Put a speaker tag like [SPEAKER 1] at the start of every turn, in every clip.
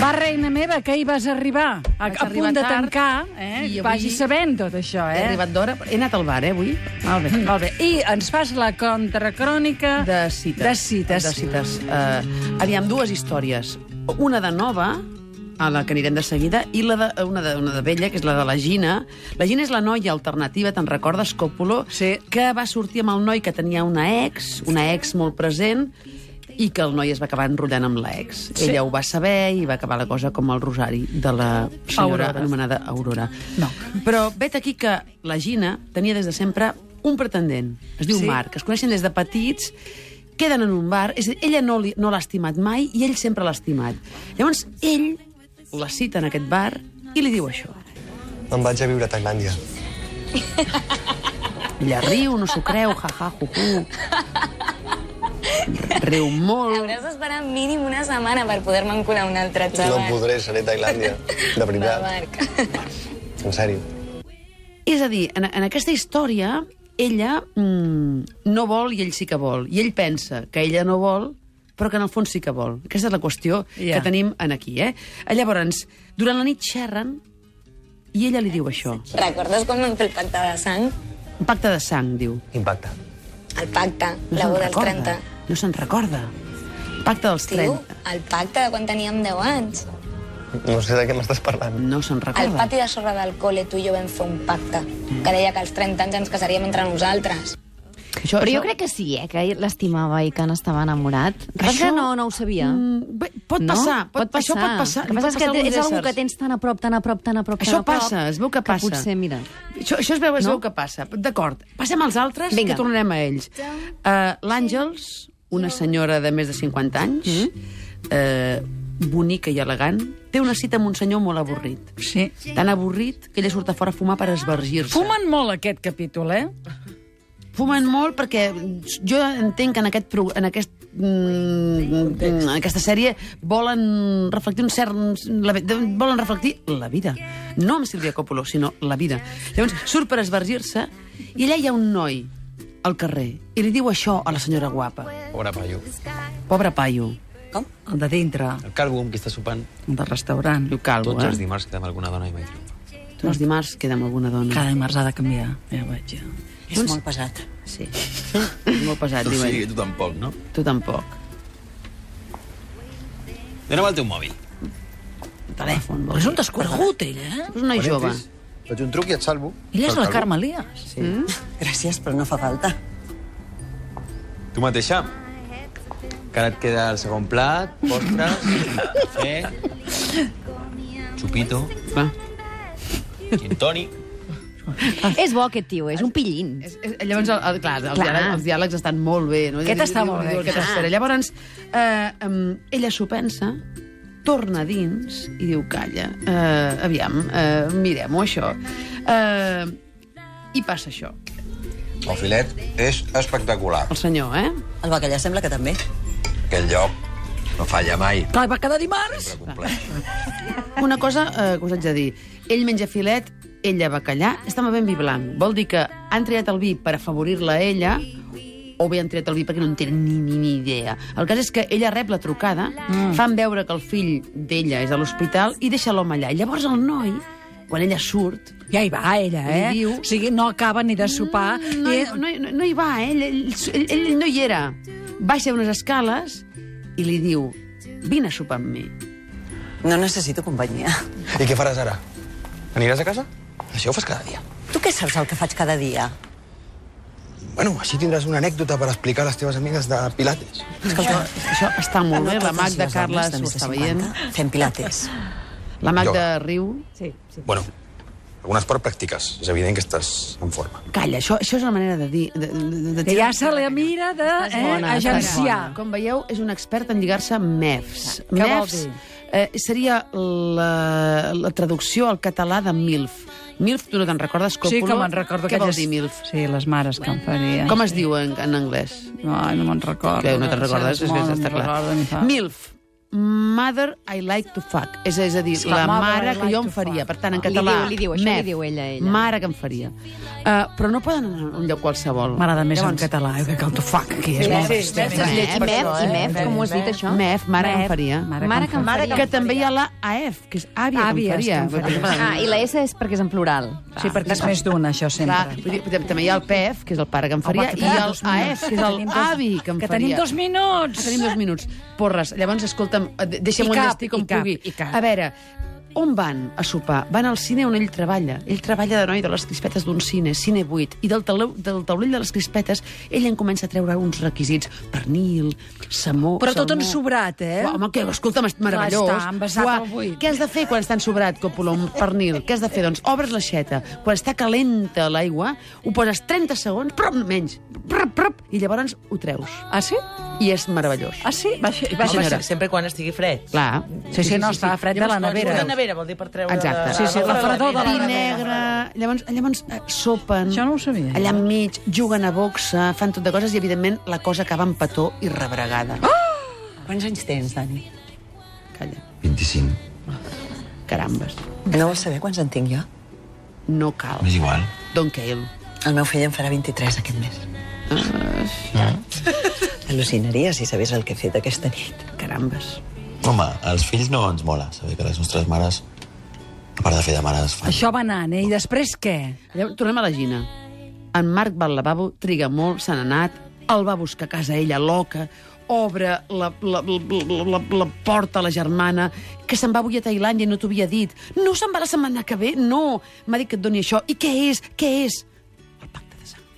[SPEAKER 1] Va, reina meva, que hi vas arribar. A,
[SPEAKER 2] Vaig
[SPEAKER 1] a
[SPEAKER 2] arribar
[SPEAKER 1] punt de
[SPEAKER 2] tard,
[SPEAKER 1] tancar, eh?
[SPEAKER 2] i avui-
[SPEAKER 1] Vagi sabent tot això,
[SPEAKER 2] He
[SPEAKER 1] eh?
[SPEAKER 2] arribat d'hora. He anat al bar, eh, avui?
[SPEAKER 1] Molt bé, molt bé. I ens fas la contracrònica...
[SPEAKER 2] De cites.
[SPEAKER 1] De cites.
[SPEAKER 2] De cites. Uh, aviam, dues històries. Una de nova, a la que anirem de seguida, i la de, una, de, una de vella, que és la de la Gina. La Gina és la noia alternativa, te'n recordes, Còpolo?
[SPEAKER 1] Sí.
[SPEAKER 2] Que va sortir amb el noi que tenia una ex, una ex molt present, i que el noi es va acabar enrotllant amb l'ex.
[SPEAKER 1] Sí.
[SPEAKER 2] Ella ho va saber i va acabar la cosa com el rosari de la senyora
[SPEAKER 1] Aurora.
[SPEAKER 2] anomenada Aurora.
[SPEAKER 1] No.
[SPEAKER 2] Però vet aquí que la Gina tenia des de sempre un pretendent. Es diu
[SPEAKER 1] Sí?
[SPEAKER 2] sí? Marc. Es coneixen des de petits, queden en un bar. És a dir, ella no li- no l'ha estimat mai i ell sempre l'ha estimat. Llavors, ell la cita en aquest bar i li diu això.
[SPEAKER 3] Me'n vaig a viure a Tailàndia.
[SPEAKER 2] Ella riu, no s'ho creu, ja, ja, ju, ju. Riu molt.
[SPEAKER 4] Hauràs d'esperar mínim una setmana per poder-me encular un altre
[SPEAKER 3] No
[SPEAKER 4] xaval.
[SPEAKER 3] podré, seré a Tailàndia. De
[SPEAKER 4] Va,
[SPEAKER 3] veritat.
[SPEAKER 4] Marc.
[SPEAKER 3] En sèrio.
[SPEAKER 2] És a dir, en, en aquesta història, ella mm, no vol i ell sí que vol. I ell pensa que ella no vol, però que en el fons sí que vol. Aquesta és la qüestió
[SPEAKER 1] Ja.
[SPEAKER 2] yeah. que tenim en aquí, eh? Llavors, durant la nit xerren i ella li diu això.
[SPEAKER 4] Recordes quan vam fer el pacte de sang?
[SPEAKER 2] Un pacte de sang, diu.
[SPEAKER 3] Impacte.
[SPEAKER 4] El pacte,
[SPEAKER 2] No
[SPEAKER 4] la
[SPEAKER 2] se'n
[SPEAKER 4] boda dels
[SPEAKER 2] recorda.
[SPEAKER 4] 30.
[SPEAKER 2] No se'n recorda. Pacte dels
[SPEAKER 4] Tio,
[SPEAKER 2] 30.
[SPEAKER 4] el pacte de quan teníem 10 anys.
[SPEAKER 3] No sé de què m'estàs parlant.
[SPEAKER 2] No se'n
[SPEAKER 4] Al
[SPEAKER 2] recorda.
[SPEAKER 4] pati de sorra del col·le tu i jo vam fer un pacte que deia que als 30 anys ens casaríem entre nosaltres.
[SPEAKER 2] Això,
[SPEAKER 5] Però jo crec que sí, eh, que l'estimava i que n'estava enamorat. Però que no, no ho sabia.
[SPEAKER 2] Mm, bé, pot
[SPEAKER 5] no?
[SPEAKER 2] passar, pot, Això pot passar.
[SPEAKER 5] El
[SPEAKER 2] li pot
[SPEAKER 5] que passa és
[SPEAKER 2] passar a
[SPEAKER 5] que
[SPEAKER 2] alguns
[SPEAKER 5] és algú que
[SPEAKER 2] éssers.
[SPEAKER 5] tens tan a prop, tan a prop, tan a prop,
[SPEAKER 2] Això
[SPEAKER 5] tan a prop...
[SPEAKER 2] passa, es veu que passa.
[SPEAKER 5] Que potser, mira...
[SPEAKER 2] Això, això es veu, es
[SPEAKER 5] No?
[SPEAKER 2] veu que passa. D'acord, passem als altres
[SPEAKER 5] Vinga.
[SPEAKER 2] Vinga. que tornarem a ells. Uh, L'Àngels, una senyora de més de 50 anys,
[SPEAKER 5] Mm-hmm.
[SPEAKER 2] uh, bonica i elegant, té una cita amb un senyor molt avorrit.
[SPEAKER 1] Sí.
[SPEAKER 2] Tan avorrit que ella surt a fora a fumar per esvergir-se.
[SPEAKER 1] Fumen molt aquest capítol, eh?
[SPEAKER 2] Fumen molt perquè jo entenc que en, aquest, pro- en, aquest, mm, en aquesta sèrie volen reflectir un cert... La, vi- de- volen reflectir la vida. No amb Silvia Coppola, sinó la vida. Llavors surt per esvergir-se i allà hi ha un noi al carrer i li diu això a la senyora guapa.
[SPEAKER 6] Pobre paio.
[SPEAKER 2] Pobre paio,
[SPEAKER 4] Com?
[SPEAKER 1] El de dintre,
[SPEAKER 6] El calvo amb qui està sopant.
[SPEAKER 1] el de restaurant.
[SPEAKER 2] diu calvo,
[SPEAKER 6] Tots els
[SPEAKER 2] eh?
[SPEAKER 6] dimarts queda amb alguna dona i mai triomfa.
[SPEAKER 2] Tots els dimarts queda amb alguna dona.
[SPEAKER 1] Cada dimarts ha de canviar, ja ho veig. Ja. Doncs
[SPEAKER 4] És molt pesat.
[SPEAKER 2] Sí. Molt pesat, diu
[SPEAKER 3] eh?
[SPEAKER 2] ell.
[SPEAKER 6] tu tampoc, no?
[SPEAKER 2] Tu tampoc.
[SPEAKER 6] Dóna'm el teu mòbil.
[SPEAKER 2] Telèfon. vol
[SPEAKER 1] És
[SPEAKER 2] dir.
[SPEAKER 1] un descorregut, ell, eh?
[SPEAKER 2] És un noi jove.
[SPEAKER 3] Faig un truc i et salvo.
[SPEAKER 1] Ella és la Carme Elias.
[SPEAKER 7] Gràcies, però no fa falta.
[SPEAKER 6] Tu mateixa? Que ara et queda el segon plat, postres, cafè, xupito,
[SPEAKER 2] Va.
[SPEAKER 6] gin tònic...
[SPEAKER 5] És bo aquest tio, és un pillín.
[SPEAKER 2] Ah. És, és, eh, llavors, el, el, clar, els,
[SPEAKER 5] Clar.
[SPEAKER 2] Diàlegs, els diàlegs estan molt bé. No?
[SPEAKER 1] Aquest
[SPEAKER 2] Diu-
[SPEAKER 1] està
[SPEAKER 2] diu-
[SPEAKER 1] molt bé,
[SPEAKER 2] diu Aquesta
[SPEAKER 1] clar.
[SPEAKER 2] història. Llavors, eh, um, ella s'ho pensa, torna a dins i diu, calla, eh, aviam, eh, mirem-ho, això. Eh, I passa això.
[SPEAKER 8] El filet és espectacular.
[SPEAKER 2] El senyor, eh?
[SPEAKER 7] El bacallà sembla que també.
[SPEAKER 8] Aquest lloc no falla mai.
[SPEAKER 1] Clar, va quedar dimarts.
[SPEAKER 8] Complet.
[SPEAKER 2] Una cosa eh, que us haig de dir. Ell menja filet, ella bacallà, està bevent vi blanc. Vol dir que han triat el vi per afavorir-la a ella o bé han triat el vi perquè no en tenen ni, ni, ni idea. El cas és que ella rep la trucada, mm. fan veure que el fill d'ella és a l'hospital i deixa l'home allà. I llavors el noi, quan ella surt,
[SPEAKER 1] Ja hi va, ella, eh?
[SPEAKER 2] Li diu- Mm,
[SPEAKER 1] O sigui, no acaba ni de sopar.
[SPEAKER 2] no,
[SPEAKER 1] i...
[SPEAKER 2] no, no, no hi va, eh? ell, ell, ell, ell no hi era. Baixa unes escales i li diu, vine a sopar amb mi.
[SPEAKER 7] No necessito companyia.
[SPEAKER 3] I què faràs ara? Aniràs a casa? Això ho fas cada dia.
[SPEAKER 7] Tu què saps el que faig cada dia?
[SPEAKER 3] Bueno, així tindràs una anècdota per explicar a les teves amigues de Pilates.
[SPEAKER 2] Escolta, això està molt bé, la
[SPEAKER 7] totes
[SPEAKER 2] Magda
[SPEAKER 7] les
[SPEAKER 2] Carles
[SPEAKER 7] dones de
[SPEAKER 2] ho
[SPEAKER 7] més de
[SPEAKER 2] està veient.
[SPEAKER 7] 50 Fem pilates.
[SPEAKER 2] La Magda
[SPEAKER 8] Ioga.
[SPEAKER 2] riu.
[SPEAKER 8] Bueno, algun esport practiques. És evident que estàs en forma.
[SPEAKER 2] Calla, això, això és una manera de dir... De, de, de, de
[SPEAKER 1] Que ja se la mira de eh,
[SPEAKER 2] Bona,
[SPEAKER 1] agenciar.
[SPEAKER 2] bona. Com veieu, és un expert en lligar-se amb MEFs.
[SPEAKER 1] Què vol
[SPEAKER 2] MEFs
[SPEAKER 1] dir?
[SPEAKER 2] eh, seria la, la traducció al català de MILF. MILF, tu no te'n recordes, Còpolo?
[SPEAKER 1] Sí, que me'n recordo.
[SPEAKER 2] Què vol
[SPEAKER 1] aquelles-
[SPEAKER 2] dir MILF?
[SPEAKER 1] Sí, les mares que em faria.
[SPEAKER 2] Com es diu en, en anglès?
[SPEAKER 1] No, no me'n recordo.
[SPEAKER 2] Que no te'n recordes, és que
[SPEAKER 1] Molt,
[SPEAKER 2] està
[SPEAKER 1] me'n recordo, em fa.
[SPEAKER 2] clar. MILF Mother I like to fuck. És, és a dir,
[SPEAKER 1] És
[SPEAKER 2] la
[SPEAKER 1] la mother
[SPEAKER 2] mare
[SPEAKER 1] I
[SPEAKER 2] que
[SPEAKER 1] like
[SPEAKER 2] jo em
[SPEAKER 1] to
[SPEAKER 2] faria.
[SPEAKER 1] fuck.
[SPEAKER 2] Per tant, en
[SPEAKER 5] Li
[SPEAKER 2] català...
[SPEAKER 5] diu- li diu això, li
[SPEAKER 2] mec,
[SPEAKER 5] diu ella, ella.
[SPEAKER 2] Mare que em faria. Uh, però no poden anar a un lloc qualsevol.
[SPEAKER 1] M'agrada més en català, eh, que el tu fuck, que és molt...
[SPEAKER 7] sí,
[SPEAKER 5] Mef,
[SPEAKER 7] sí, sí,
[SPEAKER 5] Mef,
[SPEAKER 7] això,
[SPEAKER 5] i
[SPEAKER 7] eh?
[SPEAKER 5] Mef, com ho has dit, això?
[SPEAKER 2] Mef, mare que
[SPEAKER 1] Mef,
[SPEAKER 2] em faria.
[SPEAKER 1] mare
[SPEAKER 5] Mare que em faria.
[SPEAKER 2] Que també hi ha la AF, que és àvia,
[SPEAKER 1] Àvies,
[SPEAKER 2] que em
[SPEAKER 1] que em
[SPEAKER 2] faria.
[SPEAKER 1] faria.
[SPEAKER 5] Ah, i la S és perquè és en plural.
[SPEAKER 1] Sí, perquè és més d'una, això,
[SPEAKER 2] Clar,
[SPEAKER 1] sempre.
[SPEAKER 2] vull dir, tam- també hi ha el PEF, que és el pare que em faria,
[SPEAKER 1] que
[SPEAKER 2] i
[SPEAKER 1] tenim
[SPEAKER 2] el
[SPEAKER 1] dos
[SPEAKER 2] AF,
[SPEAKER 1] minuts.
[SPEAKER 2] que és el
[SPEAKER 1] tenim dos-
[SPEAKER 2] avi que em
[SPEAKER 1] que
[SPEAKER 2] faria.
[SPEAKER 1] tenim dos minuts.
[SPEAKER 2] Ah, Tenim dos minuts. Porres, llavors, escolta'm, eh, de- deixa'm
[SPEAKER 1] I cap,
[SPEAKER 2] enllestir com
[SPEAKER 1] i cap,
[SPEAKER 2] pugui.
[SPEAKER 1] i cap.
[SPEAKER 2] A veure, on van a sopar? Van al cine on ell treballa. Ell treballa de noi de les crispetes d'un cine, cine 8, i del, taulell, del taulell de les crispetes ell en comença a treure uns requisits, pernil, samó...
[SPEAKER 1] Però tot
[SPEAKER 2] salmó.
[SPEAKER 1] en sobrat, eh?
[SPEAKER 2] Uau, home, que, escolta'm, és meravellós.
[SPEAKER 1] Clar, està envasat
[SPEAKER 2] Uau,
[SPEAKER 1] al buit.
[SPEAKER 2] Què has de fer quan està ensobrat, Coppola, un pernil? Què has de fer? Doncs obres l'aixeta. Quan està calenta l'aigua, ho poses 30 segons, prop, menys, prop, prop, i llavors ho treus.
[SPEAKER 1] Ah, sí?
[SPEAKER 2] I és meravellós.
[SPEAKER 1] Ah, sí? Baixa,
[SPEAKER 2] baixa,
[SPEAKER 9] Home,
[SPEAKER 2] senyora.
[SPEAKER 9] se- sempre quan estigui fred.
[SPEAKER 2] Clar.
[SPEAKER 1] Sí, sí, no, estava fred de la nevera.
[SPEAKER 9] La nevera vol dir per treure...
[SPEAKER 2] Exacte.
[SPEAKER 9] la-
[SPEAKER 1] Sí, sí,
[SPEAKER 9] la-
[SPEAKER 1] la fredor de la
[SPEAKER 2] Vi
[SPEAKER 1] nevera.
[SPEAKER 2] negre, llavors, llavors eh, sopen...
[SPEAKER 1] Això no ho sabia.
[SPEAKER 2] Allà enmig, juguen a boxa, fan tot de coses i, evidentment, la cosa acaba amb petó i rebregada. Oh!
[SPEAKER 7] Quants anys tens, Dani?
[SPEAKER 2] Calla,
[SPEAKER 6] 25.
[SPEAKER 2] carambes.
[SPEAKER 7] No vols saber quants en tinc jo?
[SPEAKER 2] No cal.
[SPEAKER 6] M'és igual.
[SPEAKER 2] Don Cale.
[SPEAKER 7] El meu fill en farà 23 aquest mes. Ah. Al·lucinaria si sabés el que he fet aquesta nit.
[SPEAKER 2] Carambes.
[SPEAKER 6] Home, els fills no ens mola saber que les nostres mares, a part de fer de mares, fan...
[SPEAKER 1] Això va anant, eh? I després què?
[SPEAKER 2] Llavors, tornem a la Gina. En Marc va al lavabo, triga molt, se n'ha anat, el va buscar a casa ella, loca, obre la, la, la, la, la, la porta a la germana, que se'n va avui a Tailàndia i no t'ho havia dit. No se'n va la setmana que ve, no. M'ha dit que et doni això. I què és? Què és? El pacte de sang.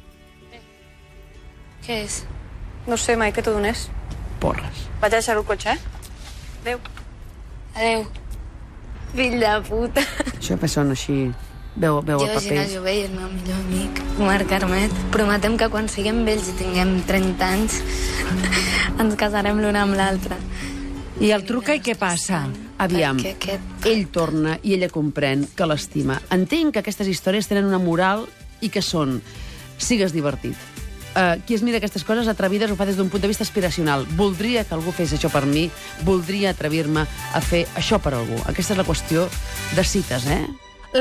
[SPEAKER 4] Què és?
[SPEAKER 10] No sé, mai que t'ho donés.
[SPEAKER 2] Porres.
[SPEAKER 10] Vaig a deixar el cotxe, eh? Adéu.
[SPEAKER 4] Adéu. Fill de puta.
[SPEAKER 2] Això persona així... Veu, veu
[SPEAKER 4] Jo, Gina Jové, i el meu millor amic, Marc Carmet, prometem que quan siguem vells i tinguem 30 anys ens casarem l'un amb l'altre.
[SPEAKER 1] I el truca i què passa?
[SPEAKER 2] Aviam,
[SPEAKER 4] Perquè aquest...
[SPEAKER 2] ell torna i ella comprèn que l'estima. Entenc que aquestes històries tenen una moral i que són sigues divertit. Uh, qui es mira aquestes coses atrevides ho fa des d'un punt de vista aspiracional. Voldria que algú fes això per mi, voldria atrevir-me a fer això per algú. Aquesta és la qüestió de cites, eh?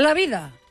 [SPEAKER 1] La vida.